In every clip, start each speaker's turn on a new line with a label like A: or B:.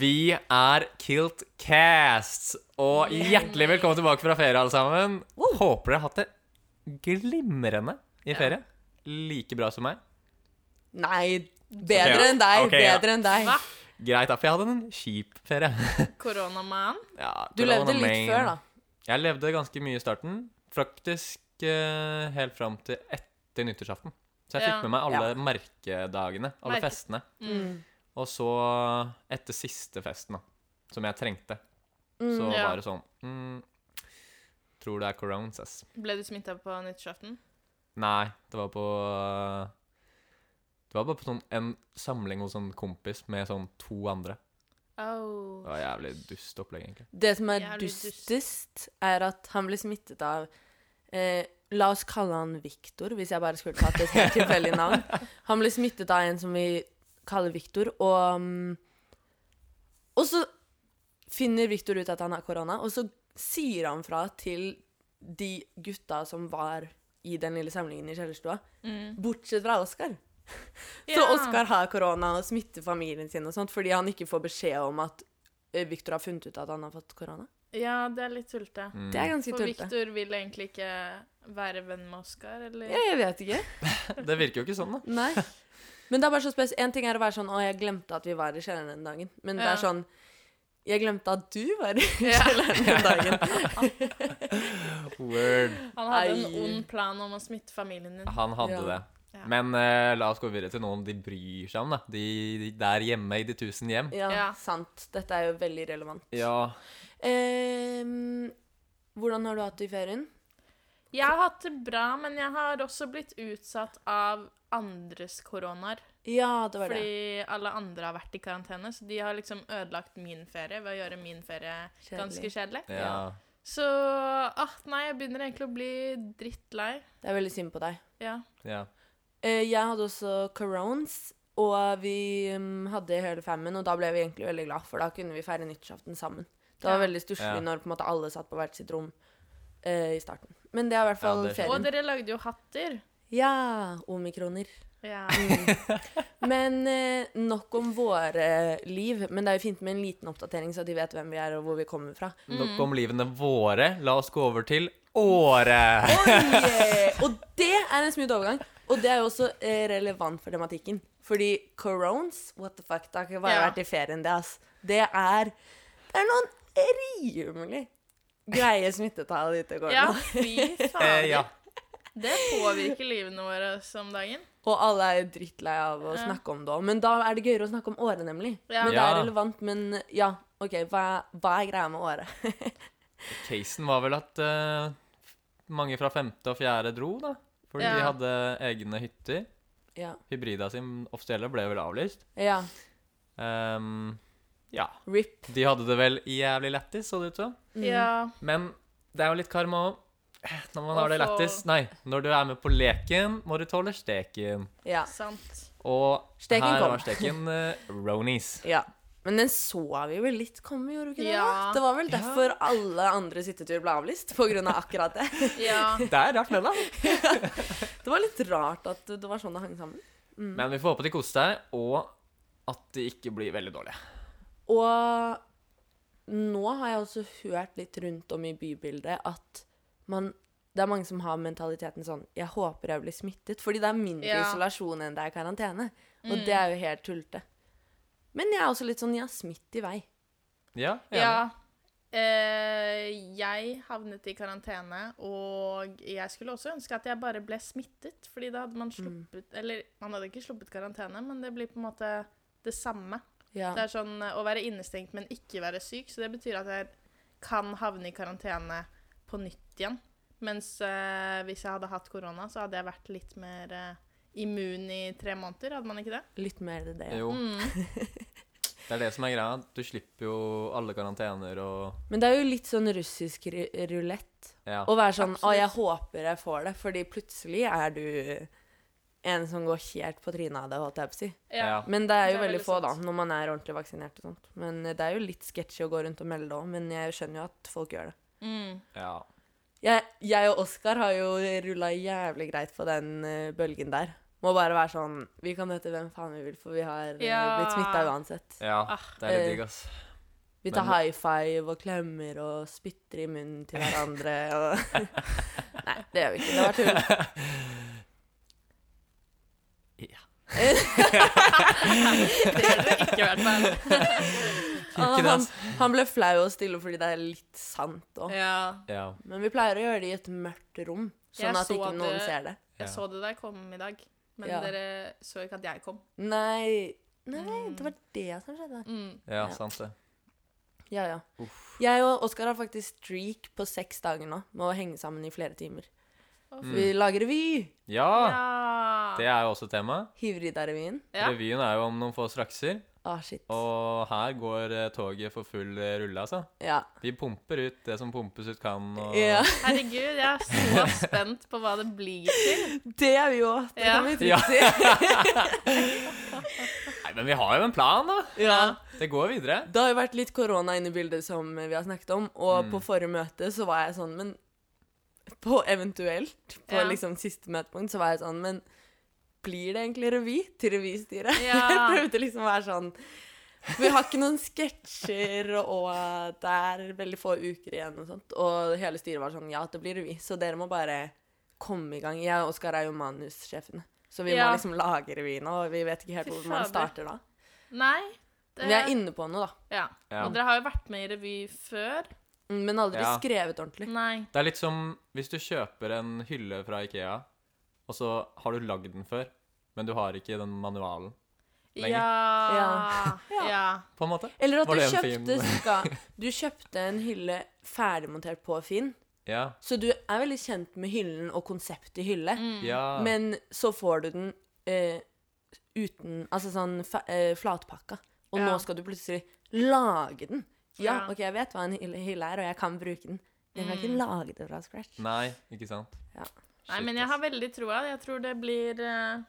A: Vi er Kilt Casts, og hjertelig velkommen tilbake fra ferie, alle sammen. Håper dere har hatt det glimrende i ferie. Like bra som meg.
B: Nei, bedre
A: Ok, ja.
B: enn deg.
A: Ok, ja.
B: bedre enn deg.
C: Hva?
A: Greit, da, for jeg hadde en kjip ferie.
C: Koronamann?
A: Ja,
B: Du
A: corona
B: levde litt
A: main.
B: før, da.
A: Jeg levde ganske mye i starten. Faktisk eh, helt fram til etter nyttårsaften. Så jeg
C: Ja.
A: fikk med meg alle
B: Ja.
A: merkedagene, alle
C: Merke-
A: festene.
C: Mm.
B: Mm.
A: Og så etter siste festen, da, som jeg trengte, så
C: Ja.
A: var det sånn mm, Tror det er corones, ass.
C: Ble du smitta på nyttårsaften?
A: Nei, det var på Det var bare på sånn en samling hos en kompis med sånn to andre.
C: Oh.
A: Det var jævlig dust opplegg, egentlig.
B: Det som er
C: Jævlig dust.
B: dustest, er at han ble smittet av eh, La oss kalle han Viktor, hvis jeg bare skulle tatt et helt tilfeldig navn. Han ble smittet av en som vi kaller Viktor, og mm, Og så finner Viktor ut at han har korona, og så sier han fra til de gutta som var i den lille samlingen i kjellerstua,
C: Mm.
B: bortsett fra Oskar. Så
C: Ja.
B: Oskar har korona og smitter familien sin og sånt, fordi han ikke får beskjed om at eh, Victor har funnet ut at han har fått korona.
C: Ja, det er litt tullete.
A: Mm.
B: Det er ganske
C: For
B: tullete.
C: Victor vil egentlig ikke være venn med Oskar, eller?
B: Ja, jeg vet ikke.
A: Det virker jo ikke sånn, da.
B: Nei. Men det er bare så spes. En ting er å være sånn 'Å, jeg glemte at vi var i kjelleren den dagen', men det
C: Ja.
B: er sånn 'Jeg glemte at du var i
C: Ja.
B: kjelleren den dagen'.
A: Word.
C: Han hadde en
B: Ei.
C: ond plan om å smitte familien din.
A: Han hadde
B: Ja.
A: det.
C: Ja.
A: Men eh, la oss gå videre til noen de bryr seg om, da. De, de der hjemme i de tusen hjem.
B: Ja,
C: Ja.
B: sant. Dette er jo veldig relevant.
A: Ja.
B: Ehm, hvordan har du hatt det i ferien?
C: Jeg har hatt det bra, men jeg har også blitt utsatt av andres koronaer.
B: Ja, det var det.
C: Fordi alle andre har vært i karantene, så de har liksom ødelagt min ferie ved å gjøre min ferie
B: Kjedelig.
C: ganske kjedelig.
A: ja.
C: Så ah, nei, jeg begynner egentlig å bli drittlei.
B: Det er veldig synd på deg.
C: Ja.
A: ja.
B: Eh, jeg hadde også corones, og vi mm, hadde hele femmen, og da ble vi egentlig veldig glad, for da kunne vi feire nyttårsaften sammen. Det var
C: Ja.
B: veldig stusslig
A: Ja.
B: når på en måte alle satt på hvert sitt rom eh, i starten. Men det er i hvert fall
A: Ja, det er
C: Og
B: ferien.
C: dere lagde jo hatter.
B: Ja, omikroner.
C: Ja.
B: Men eh, nok om våre liv. Men det er jo fint med en liten oppdatering, så de vet hvem vi er og hvor vi kommer fra.
A: Nok om livene våre. La oss gå over til året.
B: Oi! Og det er en smooth overgang. Og det er jo også eh, relevant for tematikken. Fordi corones, what the fuck, det har ikke bare
C: Ja.
B: vært i ferien, det, ass. Det er, det er noen rimelig greie smittetall ute og går
C: ja,
B: nå.
C: fy
A: Eh, ja.
C: fader. Det påvirker livene våre om dagen.
B: Og alle er jo drittlei av å
C: Ja.
B: snakke om det òg. Men da er det gøyere å snakke om året, nemlig.
C: Ja.
B: Men det
A: Ja.
B: er relevant. Men ja, OK, hva, hva er greia med året?
A: Casen var vel at eh, mange fra femte og fjerde dro, da. Fordi de
C: Ja.
A: hadde egne hytter.
B: Ja.
A: Hybrida sin offisielle ble vel avlyst.
B: ja.
A: Ehm, ja.
B: RIP.
A: De hadde det vel jævlig lættis, så det ut som.
C: Ja.
A: Men det er jo litt karma òg. Når man
C: Å
A: har det
C: få-
A: lættis Nei, når du er med på leken, må du tåle steken.
B: Ja.
C: Sant.
A: Og
B: Steken
A: her
B: kom.
A: var steken uh, Ronies.
B: Ja. Men den så vi vel litt komme, gjorde vi ikke det?
C: Ja.
B: da? Det var vel derfor alle andre sittetur ble avlyst, på grunn av akkurat det.
C: Ja.
A: Det er rart, men da.
B: Det var litt rart at det var sånn det hang sammen.
A: Men vi får håpe de koser seg, og at de ikke blir veldig dårlige.
B: Og nå har jeg også hørt litt rundt om i bybildet at man det er mange som har mentaliteten sånn 'Jeg håper jeg blir smittet', fordi det er mindre
C: Ja.
B: isolasjon enn det er karantene. Og det er jo helt tullete. Men jeg er også litt sånn 'Jeg har smitt i vei'.
A: Ja, enig.
C: ja. Eh, jeg havnet i karantene, og jeg skulle også ønske at jeg bare ble smittet. Fordi da hadde man sluppet Eller man hadde ikke sluppet karantene, men det blir på en måte det samme.
B: Ja.
C: Det er sånn eh, å være innestengt, men ikke være syk. Så det betyr at jeg kan havne i karantene på nytt igjen. Mens eh, hvis jeg hadde hatt korona, så hadde jeg vært litt mer eh, immun i tre måneder. Hadde man ikke det?
B: Litt mer det. Ja.
A: Jo.
C: Mm.
A: Det er det som er greia. Du slipper jo alle karantener og
B: Men det er jo litt sånn russisk ru- rulett.
A: Ja.
B: Å være sånn 'Å,
C: Absolutt.
B: jeg håper jeg får det', fordi plutselig er du en som går helt på trynet av det, holdt jeg på å si.
A: Ja.
B: Men det er jo
C: Det er
B: veldig
C: veldig
B: få, da,
C: sant.
B: når man er ordentlig vaksinert og sånt. Men eh, det er jo litt sketchy å gå rundt og melde det òg, men jeg skjønner jo at folk gjør det.
C: Mm.
A: ja.
B: Jeg, jeg og Oskar har jo rulla jævlig greit på den eh, bølgen der. Må bare være sånn Vi kan møte hvem faen vi vil, for vi har eh,
C: Ja.
B: blitt smitta uansett.
C: Ah,
A: ja. Det er litt digg, ass.
B: Vi tar
A: Men-
B: high five og klemmer og spytter i munnen til hverandre og Nei, det gjør vi ikke. Det var tull.
A: Ja.
C: Det gjør det ikke, i hvert fall.
A: Ikke det,
B: han,
A: ass.
B: han ble flau og stille fordi det er litt sant òg.
C: Ja.
A: Ja.
B: Men vi pleier å gjøre det i et mørkt rom,
C: Jeg
B: sånn at
C: så
B: ikke
C: det-
B: noen ser det.
A: Ja.
C: Jeg så det da jeg kom i dag, men
B: Ja.
C: dere så ikke at jeg kom.
B: Nei Nei, det var det som skjedde.
C: Mm.
A: ja,
B: Ja.
A: sant det.
B: Ja, ja. Jeg og Oskar har faktisk streak på seks dager nå med å henge sammen i flere timer.
C: Å,
A: Mm.
B: Vi lager revy!
A: Ja!
C: Ja.
A: Ah. Det er jo også tema.
B: Hivrida-revyen.
C: Ja.
A: Revyen er jo om noen få strakser.
B: Ah, shit.
A: Og her går eh, toget for full eh, rulle, altså.
B: Ja.
A: Vi pumper ut det som pumpes ut kan, og
B: ja.
C: Herregud, jeg er så spent på hva det blir til.
B: Det er vi òg. Det
C: Ja.
B: kan vi
A: Ja.
B: trygt si.
A: Nei, men vi har jo en plan, da!
C: Ja.
A: Det går videre.
B: Det har jo vært litt korona inne i bildet, som vi har snakket om.
C: Mm.
B: Og på forrige møte så var jeg sånn, men På eventuelt, på
C: Ja.
B: liksom siste møtepunkt, så var jeg sånn, men blir det egentlig revy til revystyret?
C: Ja.
B: Jeg prøvde liksom å være sånn Vi har ikke noen sketsjer, og det er veldig få uker igjen og sånt. Og hele styret var sånn, ja, det blir revy, så dere må bare komme i gang. Jeg og Oskar er jo manussjefene, så vi
C: Ja.
B: må liksom lage revy nå, og vi vet ikke helt
C: Fy
B: hvor man
C: fader.
B: starter da.
C: Nei. Det,
B: Men vi er inne på noe, da.
C: ja.
A: Ja.
C: Og dere har jo vært med i revy før.
B: Mm, Men aldri
A: Ja.
B: skrevet ordentlig.
C: Nei.
A: Det er litt som hvis du kjøper en hylle fra Ikea, og så har du lagd den før, men du har ikke den manualen, Lenger.
C: Ja.
B: Ja.
C: ja.
A: på en måte.
B: Eller at
A: Var
B: du
A: det en
B: kjøpte,
A: fin-
B: ska, du kjøpte en hylle ferdigmontert på Finn,
A: Ja.
B: så du er veldig kjent med hyllen og konseptet i hylle,
A: ja.
B: Mm. men så får du den eh, uten Altså sånn fa eh, flatpakka, og
C: Ja.
B: nå skal du plutselig lage den. Ja, Mm.
C: Ja.
B: OK, jeg vet hva en hylle, hylle er, og jeg kan bruke den. Men jeg kan ikke lage det fra scratch.
A: Nei, ikke sant.
B: Ja.
C: Nei,
A: Shit,
C: men jeg har
A: ass.
C: veldig troa. Jeg tror det blir eh,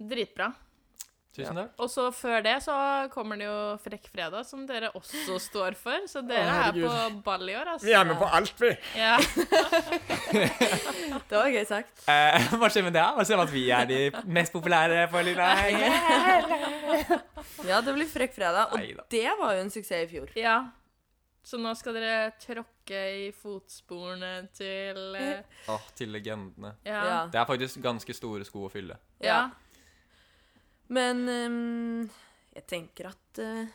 C: dritbra.
A: Tusen takk.
C: Og så før det så kommer det jo Frekk fredag, som dere også står for. Så dere er
A: herregud.
C: på ball i år, altså.
A: er med på alt, vi.
C: Ja.
B: Det var gøy sagt.
A: Eh, hva skjer med det? Hva skjer med at vi er de mest populære på lilla henge?
B: Ja, det blir Frekk fredag, og
A: Neida.
B: det var jo en suksess i fjor.
C: ja. Så nå skal dere tråkke i fotsporene til eh,
A: Åh, til legendene.
C: ja.
B: Ja.
A: Det er faktisk ganske store sko å fylle.
C: Ja.
B: Men ehm, jeg tenker at eh,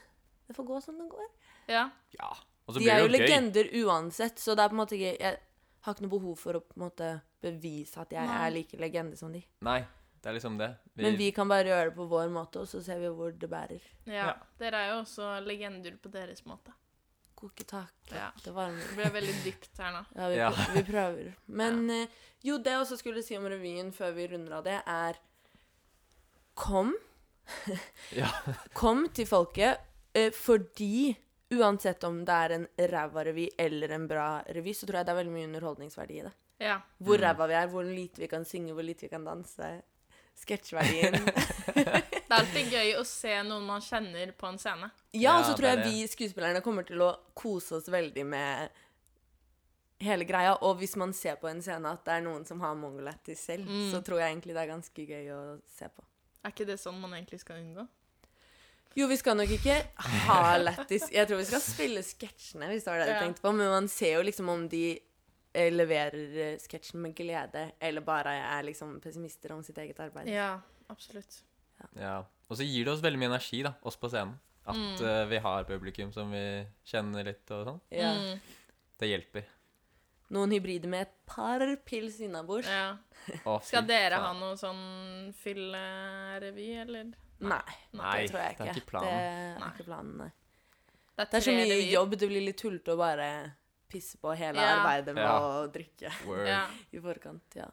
B: det får gå som det går.
C: ja.
A: Ja. Og så
B: De er
A: blir
B: jo
A: det jo gøy.
B: legender uansett, så det er på en måte ikke Jeg har ikke noe behov for å på en måte bevise at jeg
C: Nei.
B: er like legende som de.
A: Nei, det er liksom det. Vi-
B: Men vi kan bare gjøre det på vår måte, og så ser vi hvor det bærer.
C: Ja.
A: Ja.
C: Dere er jo også legender på deres måte.
B: Koketak.
C: Ja.
B: Det varmer.
C: Det ble veldig dypt her nå.
B: Ja, vi,
A: Ja.
B: prø- vi prøver. Men eh, jo, det jeg også skulle si om revyen før vi runder av det, er Kom.
A: Ja.
B: Kom til folket, eh, fordi uansett om det er en ræva revy eller en bra revy, så tror jeg det er veldig mye underholdningsverdi i det.
C: Ja.
B: Hvor ræva vi er, hvor lite vi kan synge, hvor lite vi kan danse. Sketsjverdien.
C: Det er alltid gøy å se noen man kjenner på en scene.
B: Ja, og
A: Ja,
B: så
A: det
B: tror jeg
A: er det.
B: vi skuespillerne kommer til å kose oss veldig med hele greia. Og hvis man ser på en scene at det er noen som har mongolettis selv,
C: Mm.
B: så tror jeg egentlig det er ganske gøy å se på.
C: Er ikke det sånn man egentlig skal unngå?
B: Jo, vi skal nok ikke ha lættis. Jeg tror vi skal spille sketsjene, hvis det var det
C: Ja.
B: du tenkte på. Men man ser jo liksom om de eh, leverer eh, sketsjen med glede, eller bare er liksom pessimister om sitt eget arbeid.
C: Ja, absolutt.
A: Ja. Og så gir det oss veldig mye energi, da, oss på scenen. At
C: Mm.
A: eh, vi har publikum som vi kjenner litt og sånn.
B: Ja.
C: Mm,
A: Det hjelper.
B: Noen hybrider med et par pils innabords.
C: ja.
A: Å, fy
C: Skal dere
A: faen.
C: ha noe sånn fyllerevy, eller?
B: Nei,
A: Nei,
B: det tror jeg ikke.
A: det er ikke planen.
B: Det
C: Nei.
B: er ikke planen, nei. Det
C: tre
B: er så mye
C: revyer.
B: jobb, det blir litt tullete å bare pisse på hele
C: Ja.
B: arbeidet med
A: Ja.
B: å drikke
A: Word.
C: Ja.
B: i forkant. Ja.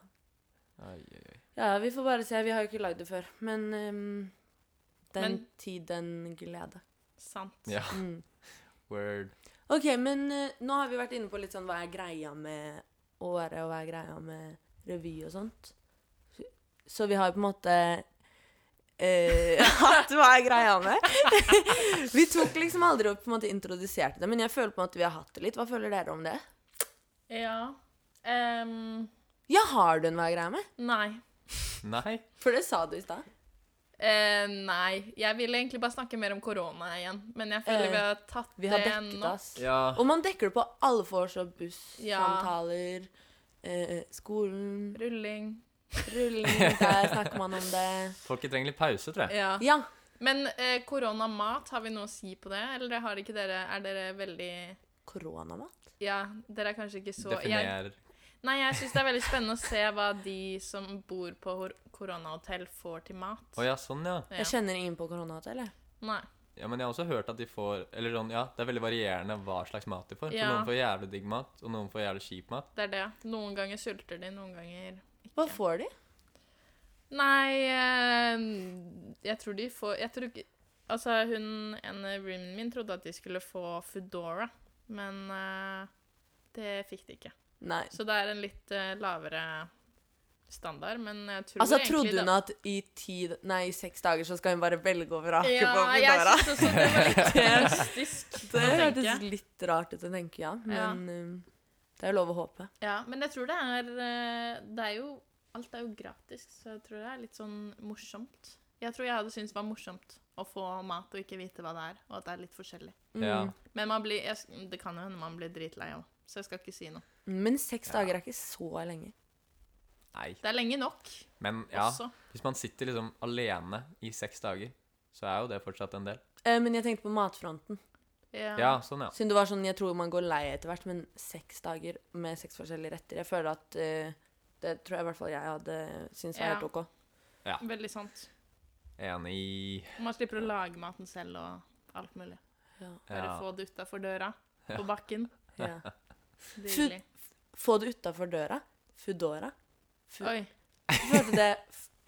A: Ai, ai, ai.
B: ja, vi får bare se. Vi har jo ikke lagd det før. Men ehm, den
C: Men-
B: tid, den glede.
C: Sant.
A: Ja.
B: Mm.
A: Word.
B: OK, men eh, nå har vi vært inne på litt sånn hva er greia med året, og hva er greia med revy og sånt. Så vi har jo på en måte eh, hatt hva er greia med. vi tok liksom aldri og på en måte introduserte det, men jeg føler på en måte vi har hatt det litt. Hva føler dere om det?
C: Ja. Ehm,
B: Ja, har du en hva er greia med?
C: nei.
A: Nei.
B: For det sa du i stad.
C: Eh, nei. Jeg ville egentlig bare snakke mer om korona igjen. Men jeg føler
B: Eh,
C: vi har tatt
B: Vi har
C: det
B: dekket
C: nå.
B: oss.
A: Ja.
B: Og man dekker det på alle vors og
C: Ja.
B: bussamtaler. Eh, skolen,
C: Rulling.
B: rulling, der snakker man om det.
A: Folket trenger litt pause, tror jeg.
C: Ja.
B: Ja.
C: Men eh, koronamat, har vi noe å si på det? Eller har ikke dere, er dere veldig
B: Koronamat?
C: Ja, dere er kanskje ikke så jeg,
A: Definer
C: Nei, jeg syns det er veldig spennende å se hva de som bor på hor- koronahotell, får til mat.
A: Å ja, sånn, ja.
C: Ja.
B: Jeg kjenner ingen på koronahotell, eller?
C: Nei.
A: Ja, Men jeg har også hørt at de får Eller sånn, ja, det er veldig varierende hva slags mat de får. Så
C: Ja.
A: noen får jævlig digg mat, og noen får jævlig kjip mat.
C: Det er det. Noen ganger sulter de, noen ganger
B: Hva får de?
C: Nei eh, Jeg tror de får Jeg tror ikke Altså, hun ene roomien min trodde at de skulle få Foodora, men eh, det fikk de ikke.
B: Nei.
C: Så det er en litt eh, lavere standard, men jeg tror
B: Altså,
C: egentlig
B: trodde
C: det-
B: hun at i ti Nei, i seks dager så skal hun bare velge og vrake
C: ja,
B: på
C: jeg
B: Foodora?
C: synes også det var litt mystisk.
B: Det
C: tenker
B: hørtes
C: jeg.
B: litt rart ut å tenke, ja.
C: Ja.
B: Men um, det er jo lov å håpe.
C: Ja, men jeg tror det er eh, Det er jo Alt er jo gratis, så jeg tror det er litt sånn morsomt. Jeg tror jeg hadde syntes det var morsomt å få mat og ikke vite hva det er, og at det er litt forskjellig.
B: Mm.
A: Ja.
C: Men man blir, jeg, sk- det kan jo hende man blir dritlei òg, så jeg skal ikke si noe.
B: Men seks
A: Ja.
B: dager er ikke så lenge.
A: Nei.
C: Det er lenge nok
A: Men ja,
C: også.
A: hvis man sitter liksom alene i seks dager, så er jo det fortsatt en del.
B: Eh, men jeg tenkte på matfronten.
A: Ja, sånn, ja.
B: Siden det var sånn, jeg tror man går lei etter hvert, men seks dager med seks forskjellige retter Jeg føler at eh, Det tror jeg i hvert fall jeg hadde syntes var
C: Ja.
B: helt ok.
C: Veldig sant.
A: Enig.
C: Man slipper å lage maten selv og alt mulig.
B: Ja.
C: Bare
A: Ja.
C: få det utafor døra,
A: Ja.
C: på bakken.
B: Ja.
C: Deilig.
B: Få det utafor døra. Foodora. Fu
C: Oi.
B: Hørte det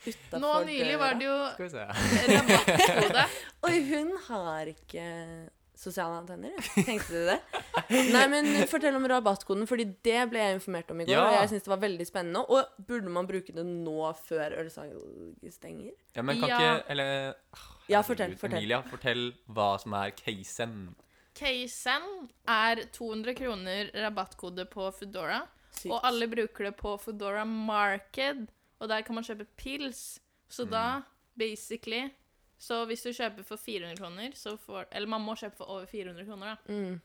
B: utafor døra?
C: Nå nylig var det jo
A: Skal vi se.
C: rabattkode.
B: Oi, hun har ikke sosiale antenner, ja. tenkte du det? Nei, men fortell om rabattkoden, fordi det ble jeg informert om i går,
A: Ja.
B: og jeg synes det var veldig spennende. Og burde man bruke det nå før ølsalget stenger?
A: Ja, men kan
C: Ja.
A: ikke Eller
B: Ja, fortell,
A: herregud,
B: fortell.
A: Emilia, fortell hva som er casen.
C: Casen er 200 kroner rabattkode på Foodora.
B: Sykt.
C: Og alle bruker det på Foodora Market, og der kan man kjøpe pils. Så da, basically Så hvis du kjøper for 400 kroner, så får Eller man må kjøpe for over 400 kroner, da.
B: Mm.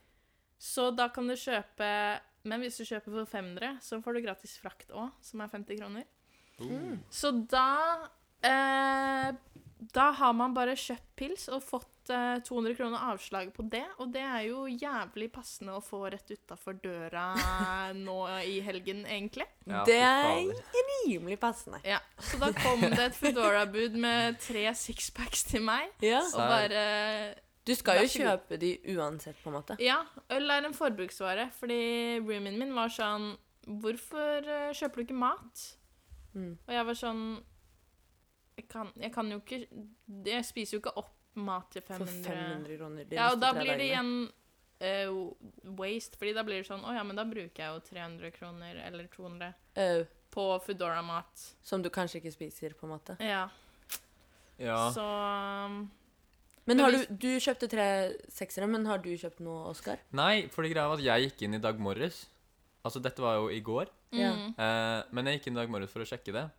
C: Så da kan du kjøpe Men hvis du kjøper for 500, så får du gratis frakt òg, som er 50 kroner.
A: Uh,
C: Så da eh, Da har man bare kjøpt pils og fått eh, 200 kroner avslag på det, og det er jo jævlig passende å få rett utafor døra nå i helgen, egentlig.
A: Ja,
B: det
A: fy fader.
B: er rimelig passende.
C: Ja, Så da kom det et Foodora-bud med tre sixpacks til meg,
B: Ja.
C: og bare
B: Du skal
C: Vær
B: jo
C: så god.
B: kjøpe de uansett, på en måte.
C: Ja, øl er en forbruksvare, fordi roomien min var sånn Hvorfor eh, kjøper du ikke mat?
B: Mm.
C: Og jeg var sånn jeg kan, jeg kan jo ikke Jeg spiser jo ikke opp mat til
B: For
C: 500,
B: 500 kroner de
C: Ja, og
B: neste
C: da
B: tre
C: blir det
B: dagene.
C: igjen eh, waste, fordi da blir det sånn Å ja, men da bruker jeg jo 300 kroner eller 200
B: Au,
C: på Foodora-mat.
B: som du kanskje ikke spiser, på en måte.
C: Ja,
A: Ja.
C: så um,
B: Men
C: Men
B: har
C: hvis-
B: du, du kjøpte tre seksere, men har du kjøpt noe, Oskar?
A: Nei, for det greia var at jeg gikk inn i dag morges. Altså, dette var jo i går.
B: Ja.
C: mm.
A: Eh, men jeg gikk inn i dag morges for å sjekke det.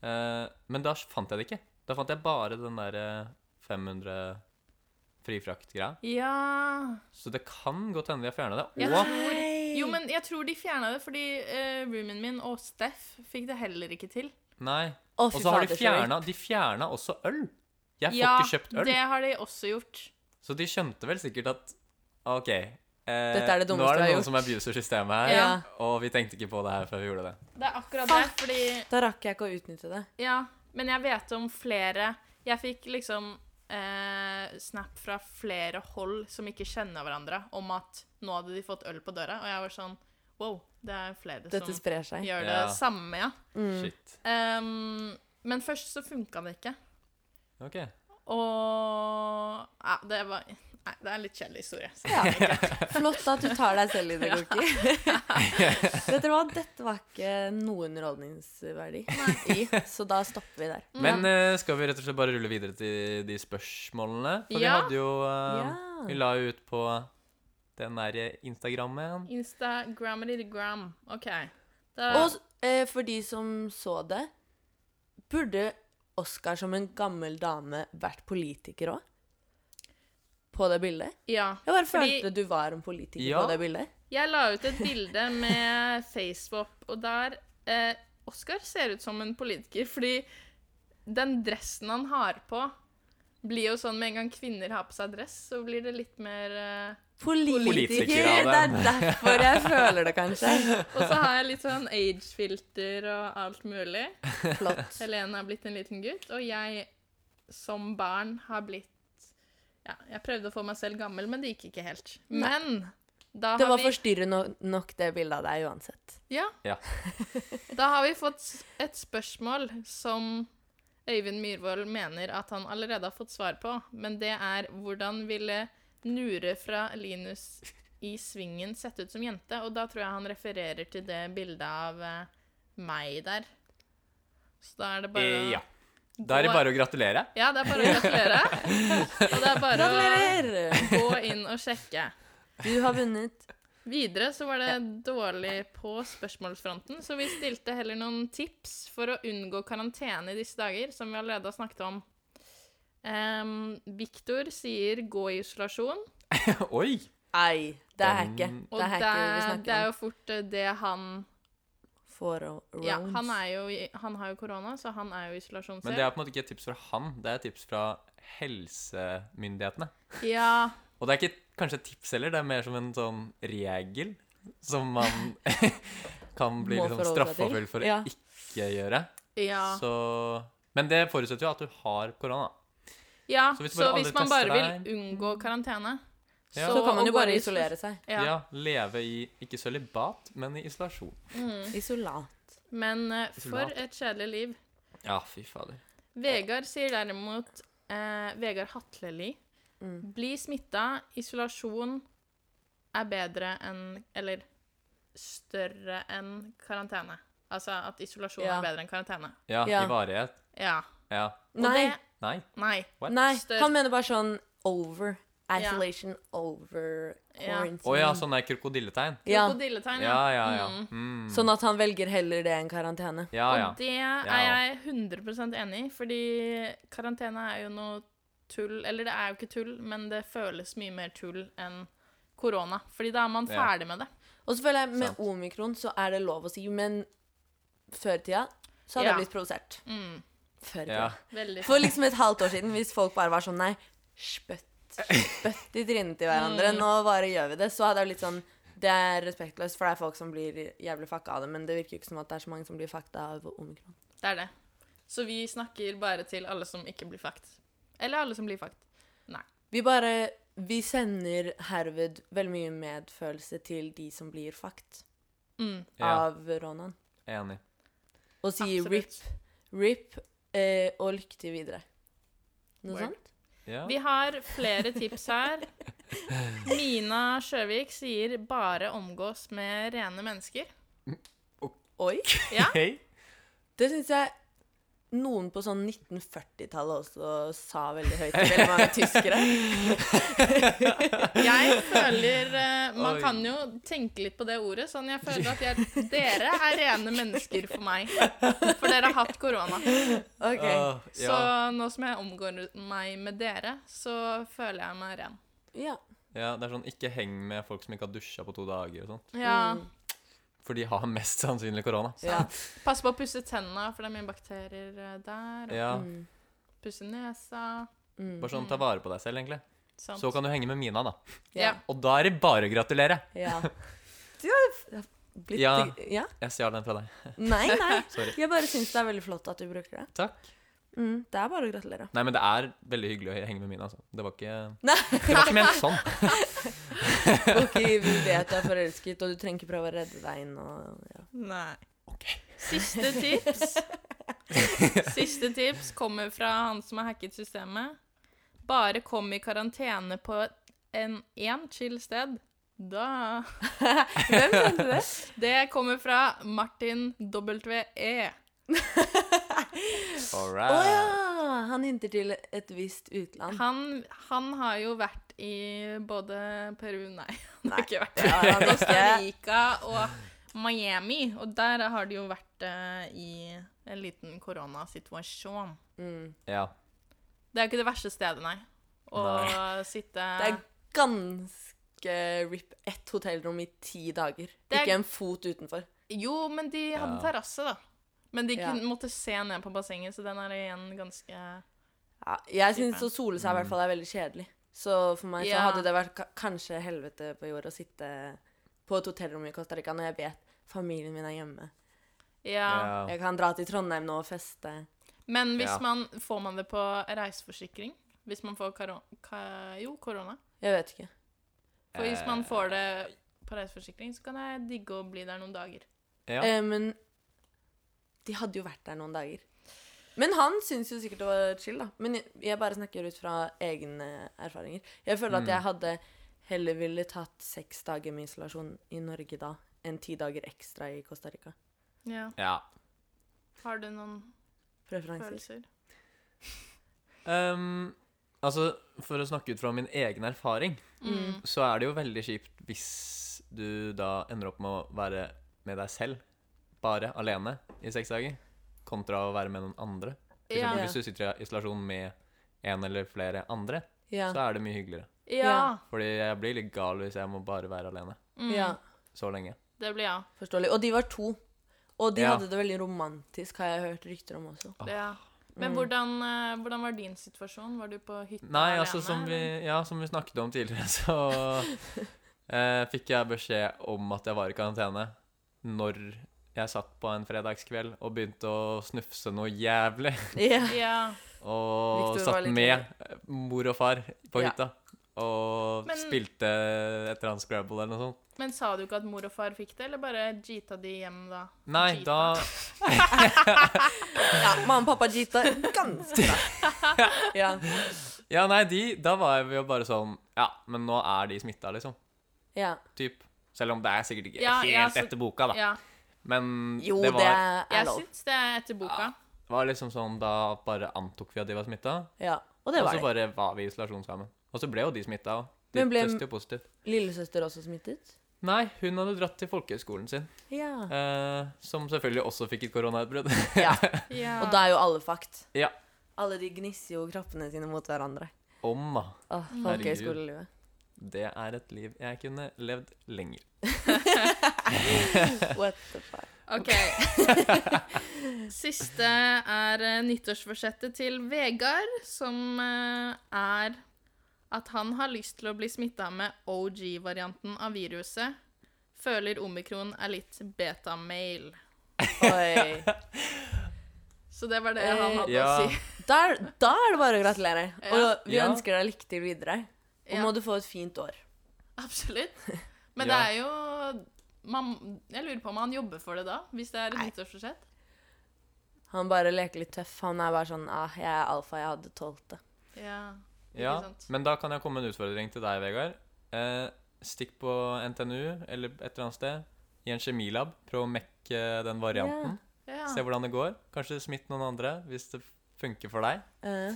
A: Eh, men da fant jeg det ikke. Da fant jeg bare den der eh, 500 frifrakt-greia.
C: ja.
A: Så det kan godt hende de har fjerna det.
C: Jeg
A: Og
C: tror,
B: Nei.
C: jo, men jeg tror de fjerna det, fordi eh, roomien min og Steff fikk det heller ikke til.
A: Nei.
B: Å,
A: Og
B: fy
A: så har
B: fader,
A: de
B: så rape.
A: fjerna De fjerna også øl. Jeg får ikke kjøpt øl.
C: det har de også gjort.
A: Så de skjønte vel sikkert at OK, eh,
B: Dette er det
A: nå er
B: dummeste
A: det
B: jeg har
A: noen som abuser systemet her,
B: Ja.
A: og vi tenkte ikke på det her før vi gjorde det.
C: Det er akkurat det, fordi
B: Da rakk jeg ikke å utnytte det.
C: Ja, men jeg vet om flere Jeg fikk liksom eh, snap fra flere hold som ikke kjenner hverandre, om at nå hadde de fått øl på døra, og jeg var sånn Wow, det er flere
B: Dette
C: som
B: sprer seg.
C: gjør det
A: Ja.
C: samme, ja.
B: Mm.
A: Shit.
C: Ehm, men først så funka det ikke.
A: OK.
C: Og ja, det var Nei, det er en litt kjedelig historie. Så.
B: Ja. Flott at du tar deg selv i det, Koki. Vet dere hva, dette var ikke noe underholdningsverdi i, så da stopper vi der.
A: Men eh, skal vi rett og slett bare rulle videre til de spørsmålene? For vi
C: Ja.
A: hadde jo eh,
B: Ja.
A: Vi la jo ut på den der Instagrammen.
C: Instagram-ity-gram. OK. Da,
B: Og eh, for de som så det, burde Oscar som en gammel dame vært politiker òg? På det bildet?
C: Ja.
B: Jeg bare
C: Fordi-
B: følte du var en politiker
A: Ja.
B: på det bildet.
C: Jeg la ut et bilde med facewap, og der eh, Oskar ser ut som en politiker, fordi den dressen han har på, blir jo sånn med en gang kvinner har på seg dress, så blir det litt mer eh.
A: Politiker,
B: Politiker!
A: ja,
B: Det er
A: det.
B: derfor jeg føler det, kanskje.
C: Og så har jeg litt sånn age-filter og alt mulig.
B: Flott.
C: Helene har blitt en liten gutt, og jeg som barn har blitt Ja, jeg prøvde å få meg selv gammel, men det gikk ikke helt. Men da
B: Det
C: har
B: var
C: vi
B: forstyrrende nok, det bildet av deg, uansett.
C: Ja.
A: Ja.
C: da har vi fått s- et spørsmål som Øyvind Myhrvold mener at han allerede har fått svar på, men det er hvordan ville Nure fra Linus i Svingen sett ut som jente? Og da tror jeg han refererer til det bildet av eh, meg der. Så da er det bare å-
A: Eh, Ja. Da er det bare å gratulere.
C: Ja, det er bare å gratulere. Og det er bare
B: Gratulerer!
C: å gå inn og sjekke.
B: Du har vunnet.
C: Videre så var det dårlig på spørsmålsfronten, så vi stilte heller noen tips for å unngå karantene i disse dager, som vi allerede har snakket om. Um, Viktor sier 'gå i isolasjon',
A: Oi!
B: Nei, det er
A: Den-
B: ikke
C: og
B: Det er ikke vi
C: det, det
B: snakker
C: er
B: om.
C: jo fort eh, det han
B: For rounds.
C: Ja, han, er jo, i- han har jo korona, så han er jo i isolasjon
A: Men det
C: selv.
A: er på en måte ikke et tips fra han, det er et tips fra helsemyndighetene.
C: Ja,
A: Og det er ikke kanskje et tips heller, det er mer som en sånn regel som man kan bli
B: Må
A: liksom
B: forholde seg til.
A: straffeforfulgt for å
B: Ja.
A: ikke gjøre.
C: ja.
A: Så Men det forutsetter jo at du har korona.
C: ja.
A: så
C: Så
A: hvis
C: hvis,
A: du bare aldri
C: man bare
A: tester
C: vil unngå karantene
A: Ja.
B: Så kan man
C: å
B: jo
C: gå
B: bare
C: i
B: isolere seg.
A: Ja.
C: Ja.
A: leve i ikke sølibat, men i isolasjon.
C: Mm.
B: Isolat.
C: Men eh, for
A: Isolat.
C: et kjedelig liv.
A: Ja, fy fader.
C: Vegard sier derimot eh, Vegard Hatleli
B: Mm.
C: Bli smitta, isolasjon er bedre enn Eller større enn karantene. Altså at isolasjon
B: Ja.
C: er bedre enn karantene.
A: Ja,
B: Ja.
A: i varighet.
C: Ja.
A: Ja.
C: Og
B: Nei.
C: Det,
A: Nei.
C: nei.
A: What?
B: Nei,
C: Større.
B: han mener bare sånn over.
C: Ja.
B: Isolation over
C: Ja.
B: quarantine.
A: Å ja, sånn er krokodilletegn.
B: Mm. Ja.
C: Krokodilletegn.
A: Ja, ja, ja.
C: Mm.
A: Mm.
B: Sånn at han velger heller det enn karantene.
A: Ja, ja.
C: Og det er jeg 100 enig i, fordi karantene er jo noe tull Eller det er jo ikke tull, men det føles mye mer tull enn korona. Fordi da er man
A: Ja.
C: ferdig med det.
B: Og så føler jeg med
A: Sant.
B: omikron så er det lov å si, men før i tida så hadde
C: Ja.
B: jeg blitt provosert.
C: Mm.
B: Før i tida.
A: Ja.
C: Veldig
B: For liksom et halvt år siden, hvis folk bare var sånn nei, spytt, spytt i trynet til hverandre, nå bare gjør vi det, så hadde jeg blitt sånn det er respektløst, for det er folk som blir jævlig fucka av det, men det virker jo ikke som at det er så mange som blir fucka av omikron.
C: Det er det. Så vi snakker bare til alle som ikke blir fakt. Eller alle som blir fakt. Nei.
B: Vi bare Vi sender herved veldig mye medfølelse til de som blir fucked
C: Mm.
A: ja.
B: av ronaen,
A: Enig.
B: og sier rip,
C: Absolutt.
B: rip, eh, og lykke til videre. Noe
C: Word.
B: sånt?
A: Ja.
C: Vi har flere tips her. Mina Sjøvik sier 'bare omgås med rene mennesker'.
B: Oi!
C: Ja.
A: Hei.
B: Det syns jeg noen på sånn 1940-tallet også sa veldig høyt til veldig mange tyskere.
C: Jeg føler eh, Man
A: Oi.
C: kan jo tenke litt på det ordet. Sånn jeg føler at jeg, dere er rene mennesker for meg. For dere har hatt korona.
B: Ok.
A: Åh,
C: Så
A: ja.
C: nå som jeg omgår meg med dere, så føler jeg meg ren.
B: Ja.
A: ja, det er sånn ikke heng med folk som ikke har dusja på to dager og sånn.
C: Ja.
B: Mm.
A: For de har mest sannsynlig korona.
B: ja.
C: Pass på å pusse tenna, for det er mye bakterier eh, der.
A: Ja,
B: Mm.
C: Og pusse nesa.
B: Mm.
A: Bare sånn ta vare på deg selv, egentlig.
C: Sant.
A: Så kan du henge med Mina, da.
C: ja.
A: Og da er det bare å gratulere!
B: Ja. Du har f- blitt ja.
A: Ja.
B: ja.
A: Jeg stjal den fra deg.
B: Nei, nei.
A: Sorry.
B: Jeg bare syns det er veldig flott at du bruker det.
A: Takk.
B: Mm, det er bare å gratulere.
A: Nei, men det er veldig hyggelig å henge med Mina. Altså. Det var ikke
B: Nei.
A: Det var ikke ment sånn.
B: Ok, vi vet du er forelsket, og du trenger ikke prøve å redde deg inn og ja.
C: Nei. Siste tips. Siste tips kommer fra han som har hacket systemet. Bare kom i karantene på en én chill sted. Da
B: Hvem sendte det?
C: Det kommer fra Martin E. WE.
A: All
B: Å
A: right.
B: ja! Han hinter til et visst utland.
C: Han, han har jo vært i både Peru Nei, han har
B: Nei.
C: ikke vært
B: Det har han
C: Costa
B: ikke.
C: Rica og Miami. Og der har det jo vært eh, i en liten koronasituasjon.
B: Mm.
A: Ja.
C: Det er jo ikke det verste stedet, nei. Å
A: Nei.
C: sitte
B: Det er ganske rip. Ett hotellrom i ti dager.
C: Det er-
B: Ikke en fot utenfor.
C: Jo, men de hadde
A: Ja.
C: terrasse, da. Men de
B: Ja.
C: kunne, måtte se ned på bassenget, så den er igjen ganske
B: Ja, jeg syns å sole seg i hvert fall er veldig kjedelig. Så for meg så
C: Ja.
B: hadde det vært ka- kanskje helvete på jord å sitte på et hotellrom i Costa Rica når jeg vet familien min er hjemme.
C: Ja.
A: ja.
B: Jeg kan dra til Trondheim nå og feste.
C: Men hvis
A: Ja.
C: man får man det på reiseforsikring? Hvis man får karo ka jo, korona.
B: Jeg vet ikke.
C: For hvis
A: Eh.
C: man får det på reiseforsikring, så kan jeg digge å bli der noen dager.
A: Ja.
B: Eh, men de hadde jo vært der noen dager. Men han syns jo sikkert det var chill, da. Men jeg, jeg bare snakker ut fra egne erfaringer. Jeg føler
A: Mm.
B: at jeg hadde heller ville tatt seks dager med isolasjon i Norge da, enn ti dager ekstra i Costa Rica.
C: Ja.
A: ja.
C: Har du noen
B: Preferanser.
C: følelser?
A: Ehm, altså, for å snakke ut fra min egen erfaring,
C: Mm.
A: så er det jo veldig kjipt hvis du da ender opp med å være med deg selv, bare alene, i seks dager, kontra å være med noen andre. For
C: Ja.
A: eksempel, Hvis du sitter i isolasjon med en eller flere andre,
B: Ja.
A: så er det mye hyggeligere.
C: ja.
A: Fordi jeg blir litt gal hvis jeg må bare være alene
C: Mm.
B: ja.
A: så lenge.
C: Det blir ja.
B: Forståelig. Og de var to. Og de
A: Ja.
B: hadde det veldig romantisk, har jeg hørt rykter om
A: Ah.
B: også.
C: Det, ja.
B: Mm.
C: Men hvordan, eh, hvordan var din situasjon? Var du på hytta
A: Nei, altså som vi,
C: eller?
A: ja, som vi snakket om tidligere, så eh, fikk jeg beskjed om at jeg var i karantene når jeg satt på en fredagskveld og begynte å snufse noe jævlig.
B: Ja.
C: Ja.
A: Og
B: Victor var
A: satt
B: litt
A: med eh, mor og far på
B: Ja.
A: hytta og
C: Men-
A: spilte et eller annet Scrabble eller noe sånt.
C: Men sa du ikke at mor og far fikk det, eller bare jeeta de hjem da?
A: Nei,
C: Jeeta.
A: da
B: ja. Mamma og pappa jita ganske bra. Ja.
A: Ja, nei, de Da var vi jo bare sånn Ja, men nå er de smitta, liksom.
B: ja.
A: Typ. Selv om det er sikkert ikke
C: Ja,
A: helt
C: ja, så-
A: etter boka, da.
C: Ja.
A: Men
B: Jo,
A: det
B: det,
A: var
B: er
C: Jeg
B: lov.
C: syns det er etter boka.
A: var liksom sånn Da bare antok vi at de var smitta,
B: Ja. Og det
A: og så
B: var
A: bare
B: det.
A: var vi i isolasjon sammen. Og så ble jo de smitta òg. De
B: Men ble-
A: testet jo positivt.
B: Lillesøster også smittet?
A: Nei, hun hadde dratt til folkehøyskolen sin,
B: Ja.
A: eh, som selvfølgelig også fikk et koronautbrudd.
B: ja.
C: Ja.
B: Og da er jo alle fucked.
A: ja.
B: Alle de gnisser jo kroppene sine mot hverandre.
A: Om, da.
B: Åh, Folkehøyskolelivet.
A: Det er et liv jeg kunne levd lenger.
B: What the fuck.
C: OK. Siste er eh, nyttårsforsettet til Vegard, som eh, er at han har lyst til å bli smitta med OG-varianten av viruset. Føler omikron er litt beta-mail.
B: Oi.
C: Så det var det han
B: Eh,
C: hadde
A: Ja.
C: å si.
B: Da er, da er det bare å gratulere. Og vi
A: Ja.
B: ønsker deg lykke til videre. Og
C: Ja.
B: må du få et fint år.
C: Absolutt. Men det
A: Ja.
C: er jo man, Jeg lurer på om han jobber for det da, hvis det er et nyttårsforsett.
B: Han bare leker litt tøff. Han er bare sånn ah, 'Jeg er alfa, jeg hadde tolvte'.
C: Ja. Ikke
A: Ja,
C: sant?
A: men da kan jeg komme med en utfordring til deg, Vegard. Eh, stikk på NTNU eller et eller annet sted. I en kjemilab. Prøv å mekke den varianten.
C: Ja.
A: Se hvordan det går. Kanskje smitt noen andre hvis det funker for deg.
B: Eh,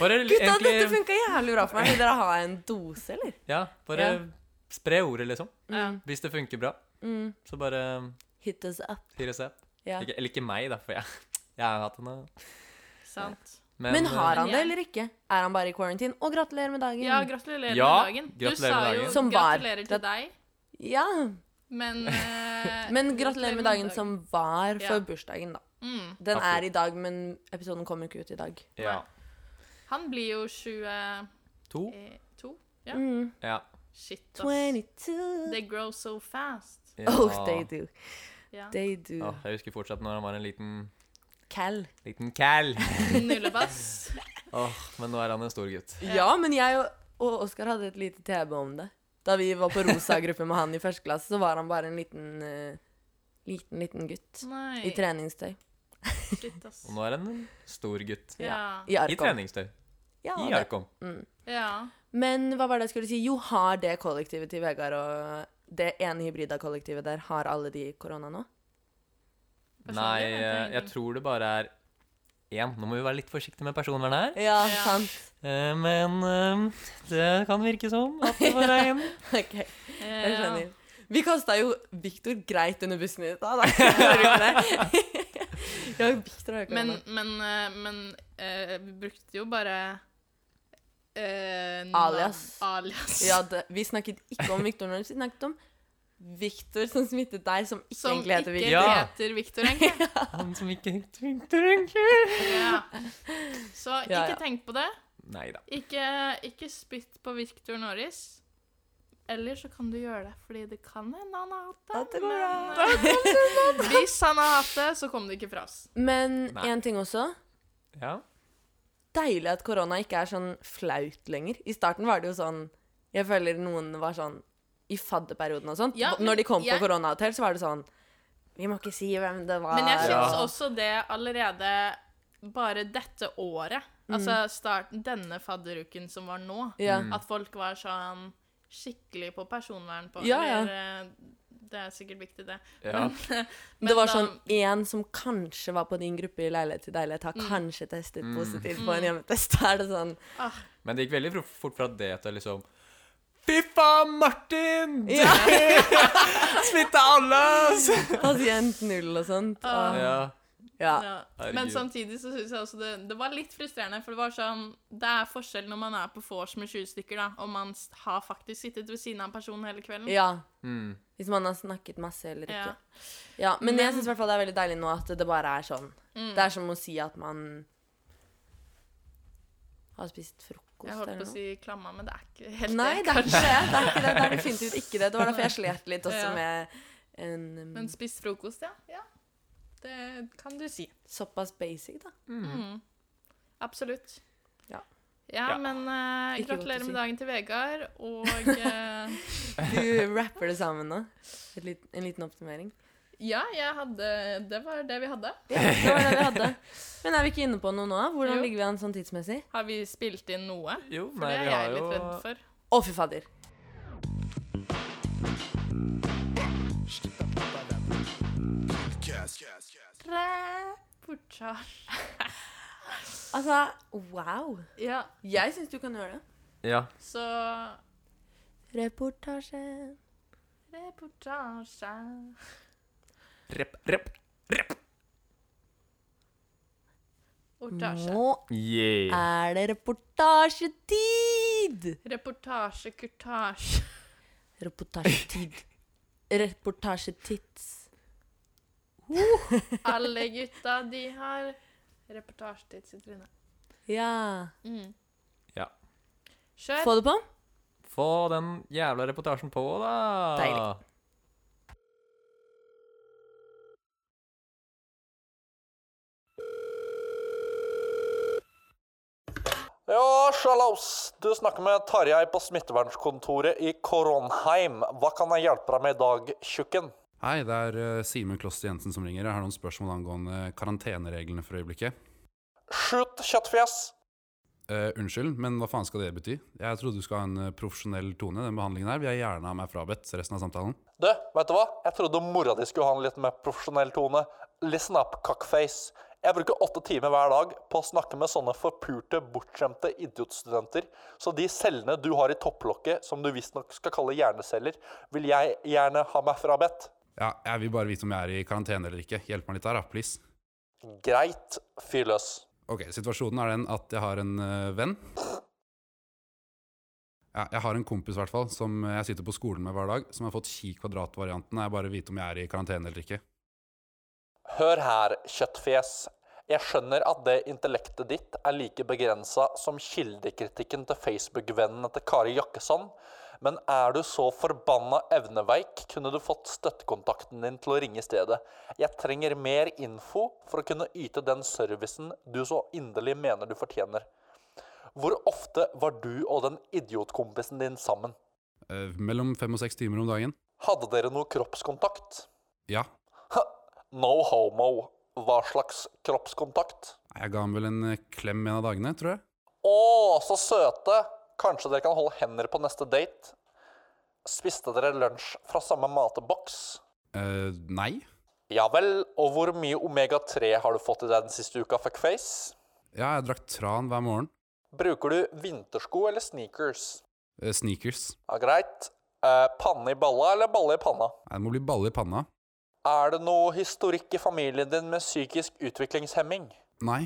A: Bare
B: Gutta,
A: egentlig
B: dette funka jævlig bra for meg. Vil dere ha en dose, eller?
A: Ja, bare
C: Ja.
A: spre ordet, liksom.
C: Ja.
A: Hvis det funker bra,
B: Mm.
A: så bare
B: Hit us up.
A: fyr oss opp.
B: Ja.
A: Ikke, eller ikke meg, da, for jeg, jeg har hatt henne. eh,
C: Sant.
B: Men har han
C: Men
B: det
C: jeg-
B: eller ikke? Er han bare i quarantine? Og gratulerer med dagen.
C: Ja, gratulerer
A: Ja,
C: med dagen. Du
A: gratulerer
C: sa
A: med
C: jo
A: dagen.
B: Mm. Som var.
C: gratulerer til deg,
B: Ja.
C: men eh,
B: Men gratulerer med dagen som var
C: Ja.
B: for bursdagen, da.
C: Mm.
B: Den
A: Absolutt.
B: er i dag, men episoden kommer ikke ut i dag.
A: Ja.
C: Han blir jo 22.
A: To?
C: Ja.
B: Mm.
A: Ja.
C: Shit, ass.
B: 22
C: They grow so fast.
A: ja. Ah.
B: Oh, they do.
C: Ja.
B: They do.
A: Åh, jeg husker fortsatt når han var en liten,
B: Cal.
A: liten cal.
C: Nullebass.
A: Åh, men nå er han en stor gutt.
B: Ja, men jeg og- og Oskar hadde et lite TB om det. Da vi var på Rosa-gruppe med han i første klasse, så var han bare en liten, eh, liten, liten gutt. I
C: Nei,
B: treningstøy.
C: shit, ass.
A: Og nå er han en stor gutt.
C: Ja.
B: I
A: I
B: Arkom.
A: treningstøy.
B: Ja,
A: I
B: det-
A: Arkom.
C: ja.
B: Men hva var det jeg skulle si? Jo, har det kollektivet til Vegard og det ene hybrida kollektivet der, har alle de korona nå?
A: Nei, eh, jeg
C: Personlig vet jeg ingenting.
A: tror det bare er én. Nå må vi være litt forsiktige med personvern her.
B: Ja,
C: Ja.
B: sant.
A: Eh, Men eh, det kan virke som at det bare er én.
B: Ok, jeg
C: Ja.
B: skjønner. Vi kasta jo Viktor greit under bussen i stad, da. Gjorde vi ikke det? Ja, Victor har jo
C: Men,
B: korona.
C: men, eh, men eh, vi brukte jo bare eh, nav-
B: Alias.
C: alias.
B: Ja, det, vi snakket ikke om Victor når vi snakket om Victor som smittet deg, som ikke
C: som
B: egentlig heter
C: ikke
B: Victor.
A: Ja.
C: heter Victor, egentlig.
A: Han som ikke tenkte egentlig.
C: Ja. Så ikke
B: Ja, ja.
C: tenk på det.
A: Nei da.
C: Ikke, ikke spytt på Victor Norris. Eller så kan du gjøre det, fordi det kan hende han har hatt det.
B: At det går
C: men,
B: bra.
C: eh, Hvis han har hatt det, så kom det ikke fra oss.
B: Men
A: Nei.
B: én ting også.
A: Ja.
B: Deilig at korona ikke er sånn flaut lenger. I starten var det jo sånn Jeg føler noen var sånn I fadderperioden og sånt.
C: Ja, men
B: Når de kom
C: jeg-
B: på koronahotell, så var det sånn Vi må ikke si hvem det var.
C: Men jeg syns
A: Ah, Ja.
C: også det allerede bare dette året, altså start, denne fadderuken som var nå,
B: Mm. ja.
A: Mm.
C: at folk var sånn skikkelig på personvern på
B: Ja, ja.
C: eller, eh, Det er sikkert viktig, det.
A: ja.
B: det var
C: da-
B: sånn én som kanskje var på din gruppe i leilighet til leilighet,
C: Mm.
B: har kanskje testet positivt på en hjemmetest. Da er det sånn
A: Men det gikk veldig fro- fort fra det til liksom Fy faen, Martin!
B: Ja.
A: Smitta alle!
B: pasient null og sånt. Og,
A: Ja.
B: ja.
C: Ja. Men
A: Herregud.
C: samtidig så syns jeg også det, det var litt frustrerende, for det var sånn Det er forskjell når man er på vors med 20 stykker, da, og man s- har faktisk sittet ved siden av personen hele kvelden.
B: ja.
A: Mm.
B: Hvis man har snakket masse eller
C: Ja.
B: ikke. Ja, men, jeg syns det er veldig deilig nå at det bare er sånn.
C: Mm.
B: Det er som å si at man har spist frokost
C: Jeg holdt
B: eller
C: på å
B: noe.
C: si klamma, men det er ikke helt
B: Nei,
C: det.
B: det er ikke det. Det er, ikke det. det er definitivt ikke det. Det var derfor jeg slet litt også
C: Ja.
B: med en um,
C: Men spist frokost, ja. ja. Det kan du si.
B: såpass basic, da.
C: Mm. Absolutt.
B: Ja.
C: Ja,
A: Ja.
C: men eh,
B: Ikke godt å
C: gratulerer
B: si.
C: med dagen til Vegard, og eh,
B: Du rapper det sammen nå. Et lit, en liten oppsummering.
C: Ja, jeg hadde Det var det vi hadde.
B: Ja, det var det vi hadde. Men er vi ikke inne på noe nå? Hvordan
C: Jo.
B: ligger vi an sånn tidsmessig?
C: Har vi spilt inn noe?
A: Jo,
C: For
A: nei,
C: det
A: vi
C: er jeg
A: har
C: litt redd
A: jo
C: for.
B: Å, fy fader.
C: Rapportasje.
B: Altså, wow.
C: Ja,
B: Jeg syns du kan gjøre det.
A: Ja.
C: så
B: Reportasje.
C: Reportasje.
A: Rep, rep.
C: Ortasje.
B: Nå
C: Eh.
A: Yeah.
B: er det reportasjetid!
C: Reportasje, kurtasje.
B: Reportasjetid. Reportasjetids.
C: Alle gutta, de har reportasjetid sitt tryne.
B: Ja.
C: Mm.
A: Ja.
C: Kjør.
B: Få det på?
A: Få den jævla reportasjen på, da.
B: Deilig.
D: Ja, sjalaus. Du snakker med Tarjei på smittevernkontoret i Koronheim. Hva kan jeg hjelpe deg med i dag, tjukken?
E: Hei, det er eh, Simen Kloster Jensen som ringer. Jeg har noen spørsmål angående karantenereglene for øyeblikket.
D: Shoot kjøttfjes.
E: Eh, unnskyld, men hva faen skal det bety? Jeg trodde du skulle ha en eh, profesjonell tone. Den behandlingen her vil jeg gjerne ha meg frabedt resten av samtalen.
D: Du, vet du hva? Jeg trodde mora di skulle ha en litt mer profesjonell tone. Listen up, cockface. Jeg bruker åtte timer hver dag på å snakke med sånne forpurte, bortskjemte idiotstudenter, så de cellene du har i topplokket, som du visstnok skal kalle hjerneceller, vil jeg gjerne ha meg frabedt.
E: Ja, jeg vil bare vite om jeg er i karantene eller ikke. Hjelp meg litt her, da, please.
D: Greit, fyr løs.
E: Ok, situasjonen er den at jeg har en eh, venn. Ja, jeg har en kompis i hvert fall, som jeg sitter på skolen med hver dag, som har fått Ki kvadrat-varianten. og Jeg bare vil vite om jeg er i karantene eller ikke.
D: Hør her, kjøttfjes. Jeg skjønner at det intellektet ditt er like begrensa som kildekritikken til Facebook-vennene til Kari Jakkesson, men er du så forbanna evneveik, kunne du fått støttekontakten din til å ringe i stedet. Jeg trenger mer info for å kunne yte den servicen du så inderlig mener du fortjener. Hvor ofte var du og den idiotkompisen din sammen?
E: Eh, mellom fem og seks timer om dagen.
D: Hadde dere noe kroppskontakt?
E: Ja,
D: Ha, no homo. Hva slags kroppskontakt?
E: jeg ga ham vel en eh, klem en av dagene, tror jeg.
D: Å, så søte! Kanskje dere kan holde hender på neste date? Spiste dere lunsj fra samme mateboks?
E: Eh, nei.
D: Ja vel, og hvor mye omega-3 har du fått i deg den siste uka, fuckface?
E: Ja, jeg drakk tran hver morgen.
D: Bruker du vintersko eller sneakers?
E: Eh, sneakers.
D: Ja, greit. Eh, panne i balla eller balle i panna?
E: Nei, det må bli balle i panna.
D: Er det noe historikk i familien din med psykisk utviklingshemming?
E: Nei.